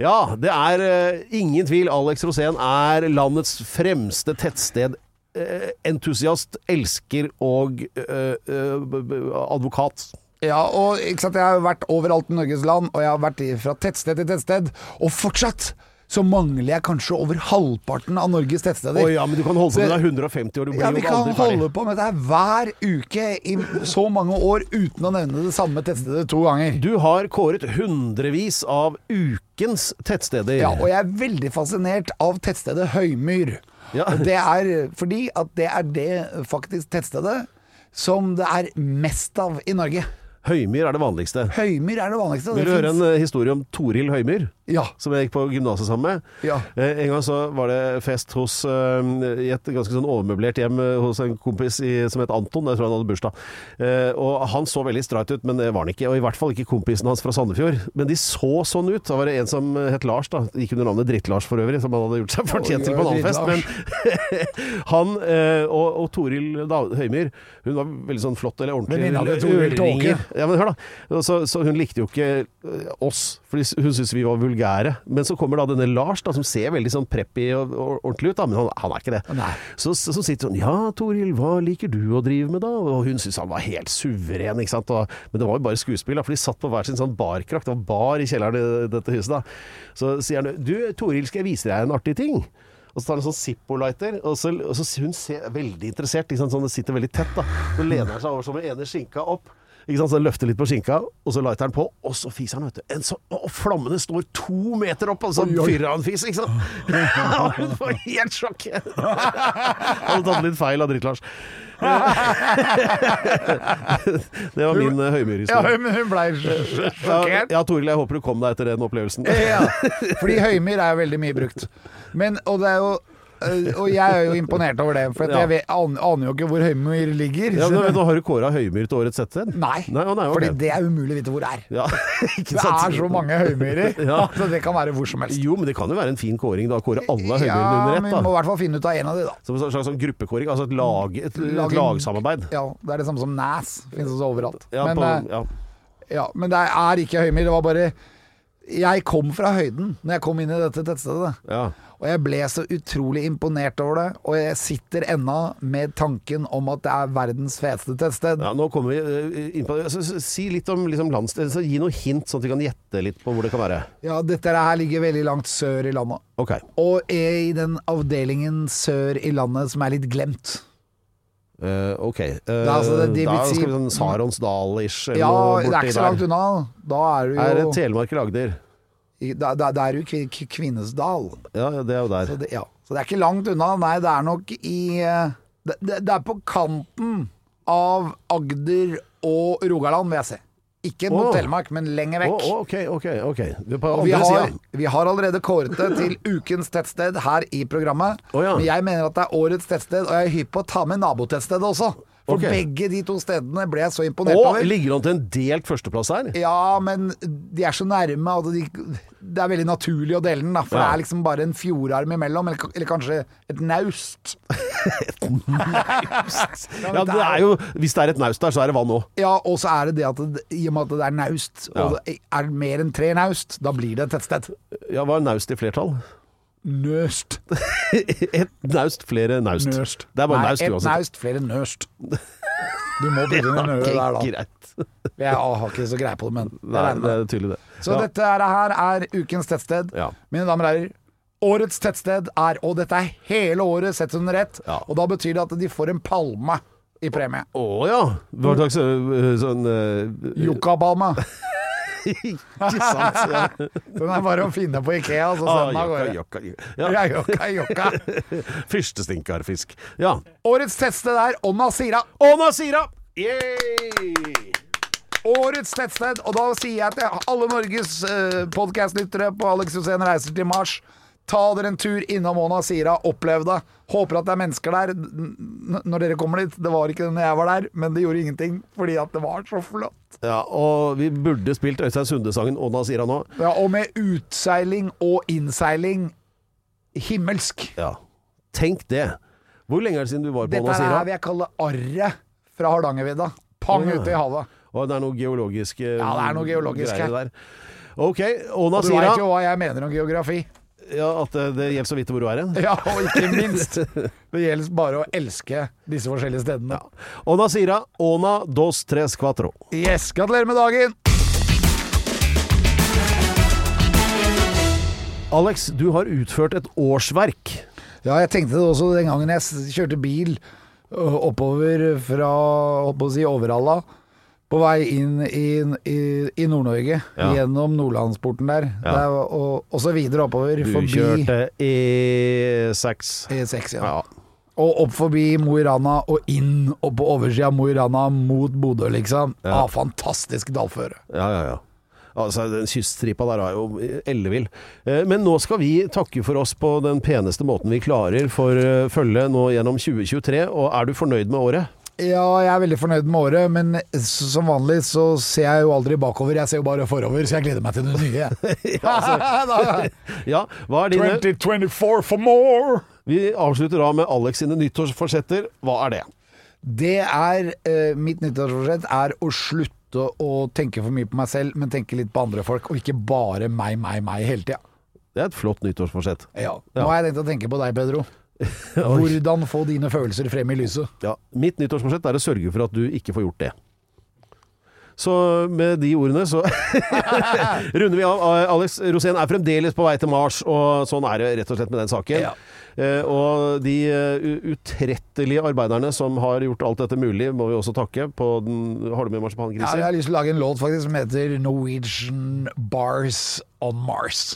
Speaker 2: Ja, det er eh, ingen tvil. Alex Rosén er landets fremste tettsted. eh, entusiast, elsker og eh, eh, b- b- advokat.
Speaker 3: Ja, og ikke sant, jeg har jo vært overalt i Norges land, og jeg har vært i- fra tettsted til tettsted, og fortsatt så mangler jeg kanskje over halvparten av Norges tettsteder.
Speaker 2: Å ja, men du kan holde på med deg 150 år. Du blir
Speaker 3: Ja, vi
Speaker 2: jo
Speaker 3: kan
Speaker 2: aldri ferdig.
Speaker 3: holde på med dette her hver uke i så mange år uten å nevne det samme tettstedet to ganger.
Speaker 2: Du har kåret hundrevis av ukens tettsteder.
Speaker 3: Ja, og jeg er veldig fascinert av tettstedet Høymyr.
Speaker 2: Ja.
Speaker 3: Og det er fordi at det er det faktisk tettstedet som det er mest av i Norge.
Speaker 2: Høymyr er det vanligste.
Speaker 3: Høymyr er det vanligste. og
Speaker 2: Vil
Speaker 3: det
Speaker 2: du høre en
Speaker 3: finnes-
Speaker 2: eh, historie om Toril Høymyr?
Speaker 3: Ja.
Speaker 2: Som jeg gikk på gymnaset sammen med.
Speaker 3: Ja.
Speaker 2: Eh, en gang så var det fest hos, eh, i et ganske sånn overmøblert hjem eh, hos en kompis i, som het Anton. Jeg tror han hadde bursdag. Eh, og han så veldig streit ut, men det var han ikke. Og i hvert fall ikke kompisen hans fra Sandefjord. Men de så sånn ut. Da var det en som het Lars, da. Gikk under navnet Dritt-Lars for øvrig, som han hadde gjort seg fortjent til på en annen fest. Men *laughs* han eh, og, og Toril da, Høymyr, hun var veldig sånn flott eller ordentlig.
Speaker 3: Venninna til Toril Tåke.
Speaker 2: Ja, men hør da. Og Så, så hun likte jo ikke eh, oss, for hun syntes vi var vulgære. Men så kommer da denne Lars, da, som ser veldig sånn preppy og, og ordentlig ut, da, men han, han er ikke det. Så, så, så sitter hun Ja, Toril, hva liker du å drive med, da? Og hun syntes han var helt suveren, ikke sant. Og, men det var jo bare skuespill, da, for de satt på hver sin sånn barkrakt. Det var bar i kjelleren i dette huset, da. Så sier han Du, Toril, skal jeg vise deg en artig ting? Og så tar han en sånn Zippo-lighter, og så, og så hun ser veldig interessert, ikke sant? sånn det sitter veldig tett. da. Så lener han seg over sånn med ene skinka opp. Ikke sant? Så han løfter litt på skinka, og så lighter han på, og så fiser han, vet du. En så, og flammene står to meter opp, og så fyrer han fis, ikke sant. *laughs* Hun får helt sjokk. *laughs* Hadde tatt litt feil av Dritt-Lars. *laughs* det var min eh,
Speaker 3: *laughs* Ja,
Speaker 2: høymyrhistorie.
Speaker 3: men hun blei
Speaker 2: Ja,
Speaker 3: sjokkert.
Speaker 2: ja, Toril, jeg håper du kom deg etter den opplevelsen.
Speaker 3: Ja, fordi høymyr er jo veldig mye brukt. Men, og det er jo øh, og jeg er jo imponert over det, for at
Speaker 2: Ja.
Speaker 3: jeg vet, an- aner jo ikke hvor Høymyr ligger.
Speaker 2: Ja, nå,
Speaker 3: skjønner du?
Speaker 2: nå har du kåra Høymyr til årets tettsted?
Speaker 3: nei,
Speaker 2: å, nei, ok.
Speaker 3: fordi det er umulig å vite hvor det er.
Speaker 2: Ja, *laughs* ikke
Speaker 3: Det
Speaker 2: sant?
Speaker 3: er så mange høymyrer,
Speaker 2: *laughs*
Speaker 3: *laughs*
Speaker 2: Ja.
Speaker 3: så det kan være hvor som helst.
Speaker 2: Jo, men det kan jo være en fin kåring, da. Kåre alle høydene under
Speaker 3: Ja,
Speaker 2: ett,
Speaker 3: men vi må
Speaker 2: da.
Speaker 3: i hvert fall finne ut av en av de, da.
Speaker 2: Som en slags sånn gruppekåring, altså et, lag, et,
Speaker 3: Lag-
Speaker 2: et lagsamarbeid.
Speaker 3: Ja, Det er det samme som Nas. Finnes også overalt.
Speaker 2: Ja,
Speaker 3: men,
Speaker 2: på,
Speaker 3: eh,
Speaker 2: ja.
Speaker 3: ja, men det er ikke høymyr. Det var bare Jeg kom fra høyden når jeg kom inn i dette tettstedet.
Speaker 2: Ja.
Speaker 3: Og jeg ble så utrolig imponert over det, og jeg sitter ennå med tanken om at det er verdens feteste tettsted.
Speaker 2: ja, nå kommer vi eh, inn på det. Så- så Si litt om liksom, landsted, så gi noen hint, sånn at vi kan gjette litt på hvor det kan være.
Speaker 3: Ja, dette her ligger veldig langt sør i landet.
Speaker 2: Ok.
Speaker 3: Og er i den avdelingen sør i landet som er litt glemt.
Speaker 2: Eh, ok. Eh,
Speaker 3: er altså det- de
Speaker 2: da
Speaker 3: vil si-
Speaker 2: skal vi sånn Saronsdal-ish, eller
Speaker 3: Ja,
Speaker 2: noe
Speaker 3: det er
Speaker 2: borti
Speaker 3: ikke så langt
Speaker 2: der.
Speaker 3: unna. Da er du
Speaker 2: Er det
Speaker 3: jo
Speaker 2: Telemark eller Agder?
Speaker 3: da, da, da er du i Kvi- K- Kvinesdal.
Speaker 2: Ja, det er jo der.
Speaker 3: Så det, ja. så det er ikke langt unna. Nei, det er nok i eh, Det, det, det er på kanten av Agder og Rogaland, vil jeg si. Ikke mot
Speaker 2: Å.
Speaker 3: Telemark, men lenger
Speaker 2: Å,
Speaker 3: vekk.
Speaker 2: å, ok, ok. ok. Du er på
Speaker 3: Og vi
Speaker 2: andre
Speaker 3: har,
Speaker 2: siden.
Speaker 3: vi har allerede kåret det til ukens tettsted her i programmet.
Speaker 2: Å ja.
Speaker 3: Men jeg mener at det er årets tettsted, og jeg er hypp på å ta med nabotettstedet også. For
Speaker 2: Ok.
Speaker 3: begge de to stedene ble jeg så imponert
Speaker 2: Og
Speaker 3: over.
Speaker 2: ligger han til en delt førsteplass her?
Speaker 3: Ja, men de er så nærme at de, det er veldig naturlig å dele den, da. For
Speaker 2: Ja.
Speaker 3: det er liksom bare en fjordarm imellom, eller, ka- eller kanskje et
Speaker 2: *laughs*
Speaker 3: naust. *laughs*
Speaker 2: Ja, det er jo, hvis det er et naust der, så er det vann òg.
Speaker 3: Ja, og så er det det at det, i og med at det er naust, og det er mer enn tre naust, da blir det et tettsted.
Speaker 2: Ja, hva er naust i flertall?
Speaker 3: Nøst.
Speaker 2: Et naust, flere naust.
Speaker 3: Nøst.
Speaker 2: Det er bare
Speaker 3: Nei,
Speaker 2: naust
Speaker 3: et
Speaker 2: uansett.
Speaker 3: naust, flere
Speaker 2: *laughs*
Speaker 3: nøst. Du må bytte inn en øre der, da.
Speaker 2: greit.
Speaker 3: Jeg har ikke så greie på det, men jeg
Speaker 2: Nei,
Speaker 3: regner
Speaker 2: det
Speaker 3: med det.
Speaker 2: er tydelig, det.
Speaker 3: Så
Speaker 2: Ja.
Speaker 3: dette er, her er ukens tettsted.
Speaker 2: Ja.
Speaker 3: Mine damer og herrer, årets tettsted er Og dette er hele året sett under ett,
Speaker 2: Ja.
Speaker 3: og da betyr det at de får en palme i premie.
Speaker 2: Å ja! Hva slags øh, sånn øh,
Speaker 3: Yuccapalme.
Speaker 2: Ikke sant?
Speaker 3: *laughs*
Speaker 2: Ja.
Speaker 3: Den er bare å finne på Ikea, så
Speaker 2: Ah,
Speaker 3: send den av
Speaker 2: jokka,
Speaker 3: gårde.
Speaker 2: jokka, jokka.
Speaker 3: Ja,
Speaker 2: Ja. *laughs*
Speaker 3: jokka, jokka.
Speaker 2: Fyrsestinkarfisk. Ja.
Speaker 3: Årets teste der, Onna Sira.
Speaker 2: Åna Sira! Yay!
Speaker 3: Årets tettsted, og da sier jeg til alle Norges eh, podcastlyttere på Alex Rosén reiser til Mars. Ta dere en tur innom Mona Sira, opplev det. Håper at det er mennesker der n- når dere kommer dit. Det var ikke det når jeg var der, men det gjorde ingenting, fordi at det var så flott.
Speaker 2: Ja, og vi burde spilt Øystein Sunde-sangen Åna Sira nå.
Speaker 3: Ja, og med utseiling og innseiling himmelsk.
Speaker 2: Ja. Tenk det. Hvor lenge er det siden du var på
Speaker 3: Dette
Speaker 2: Åna
Speaker 3: er her
Speaker 2: Sira?
Speaker 3: vil jeg kalle arret fra Hardangervidda. Pang
Speaker 2: Å, ja.
Speaker 3: ute i havet.
Speaker 2: Og det er noe geologisk eh,
Speaker 3: Ja, det er noe geologisk
Speaker 2: greier der.
Speaker 3: her.
Speaker 2: Ok, Åna
Speaker 3: Du veit jo
Speaker 2: Sira.
Speaker 3: hva jeg mener om geografi.
Speaker 2: Ja, at eh, det gjelder så vidt hvor du er hen.
Speaker 3: *laughs* Ja, og ikke minst. Det gjelder bare å elske disse forskjellige stedene.
Speaker 2: Åna Sira, Åna dos tres cuatro.
Speaker 3: Yes, gratulerer med dagen!
Speaker 2: Alex, du har utført et årsverk.
Speaker 3: Ja, jeg tenkte det også den gangen jeg s- kjørte bil ø, oppover fra holdt på å si Overhalla, på vei inn i, i, i Nord-Norge,
Speaker 2: Ja.
Speaker 3: gjennom Nordlandsporten der,
Speaker 2: Ja.
Speaker 3: der og, og så videre oppover,
Speaker 2: Du
Speaker 3: forbi
Speaker 2: kjørte E E6.
Speaker 3: E6, ja.
Speaker 2: Ja.
Speaker 3: Og opp forbi Mo i Rana og inn og på oversida av Mo i Rana mot Bodø, liksom.
Speaker 2: Ja.
Speaker 3: Ah, fantastisk dalføre.
Speaker 2: Ja, ja, ja. Altså, Den kyststripa der er jo ellevill. Eh, Men nå skal vi takke for oss på den peneste måten vi klarer for eh, følget nå gjennom 2023. Og er du fornøyd med
Speaker 3: *laughs*
Speaker 2: året?
Speaker 3: Ja, jeg er veldig fornøyd med året, men s- som vanlig så ser jeg jo aldri bakover, jeg ser jo bare forover, så jeg gleder meg til det nye.
Speaker 2: altså.
Speaker 3: *laughs* Da-
Speaker 2: *laughs* Ja, hva er dine?
Speaker 5: 2024 for more!
Speaker 2: Vi avslutter da med Alex sine nyttårsforsetter. Hva er det?
Speaker 3: det er eh, mitt nyttårsforsett, er å slutte å tenke for mye på meg selv, men tenke litt på andre folk, og ikke bare meg, meg, meg hele tida.
Speaker 2: Det er et flott nyttårsforsett.
Speaker 3: Ja.
Speaker 2: Ja.
Speaker 3: Nå har jeg tenkt å tenke på deg, Pedro. Hvordan få dine følelser frem i lyset.
Speaker 2: Ja, mitt nyttårsforsett er å sørge for at du ikke får gjort det. Så med de ordene så *laughs* runder vi av. Alex Rosén er fremdeles på vei til Mars, og sånn er det rett og slett med den saken.
Speaker 3: Ja.
Speaker 2: Eh, og de eh, u- utrettelige arbeiderne som har gjort alt dette mulig, må vi også takke. På den, har du med
Speaker 3: Ja,
Speaker 2: marsipangrisen?
Speaker 3: jeg har lyst til å lage en låt faktisk som heter Norwegian Bars on Mars.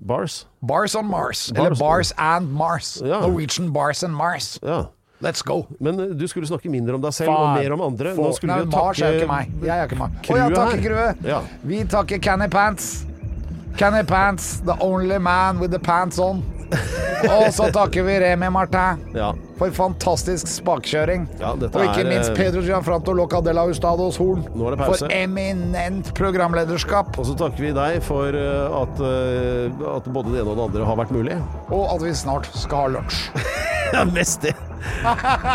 Speaker 2: Bars?
Speaker 3: Bars on Mars, eller Bars and Mars.
Speaker 2: Ja.
Speaker 3: Norwegian Bars and Mars.
Speaker 2: Ja.
Speaker 3: Let's go.
Speaker 2: Men eh, du skulle snakke mindre om deg selv og
Speaker 3: Faen.
Speaker 2: mer om andre.
Speaker 3: Få-
Speaker 2: Nå skulle
Speaker 3: Nei,
Speaker 2: vi jo
Speaker 3: Mars er jo ikke meg.
Speaker 2: takke
Speaker 3: Jeg er ikke meg. Å
Speaker 2: crewet
Speaker 3: ja, takke
Speaker 2: her.
Speaker 3: crewet.
Speaker 2: Ja.
Speaker 3: Vi takker Canny Pants. Canny Pants, the only man with the pants on. Og så takker vi Remi Martin
Speaker 2: Ja.
Speaker 3: for fantastisk spakkjøring.
Speaker 2: Ja, dette
Speaker 3: og ikke
Speaker 2: er,
Speaker 3: minst
Speaker 2: eh,
Speaker 3: Pedro Gianfranto Locadella Ustados Horn
Speaker 2: Nå er det pause.
Speaker 3: for eminent programlederskap.
Speaker 2: Og så takker vi deg for eh, at, eh, at både det ene og det andre har vært mulig. *laughs*
Speaker 3: Og at vi snart skal ha lunsj.
Speaker 2: Ja, mest
Speaker 3: *laughs*
Speaker 2: det.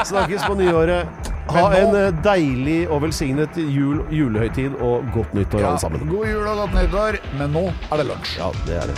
Speaker 2: Snakkes på nyåret. Ha
Speaker 3: Men
Speaker 2: en
Speaker 3: nå-
Speaker 2: eh, deilig og velsignet jul, julehøytid og godt nyttår, alle sammen.
Speaker 3: God jul og godt nyttår, men nå er det lunsj.
Speaker 2: Ja, det er det.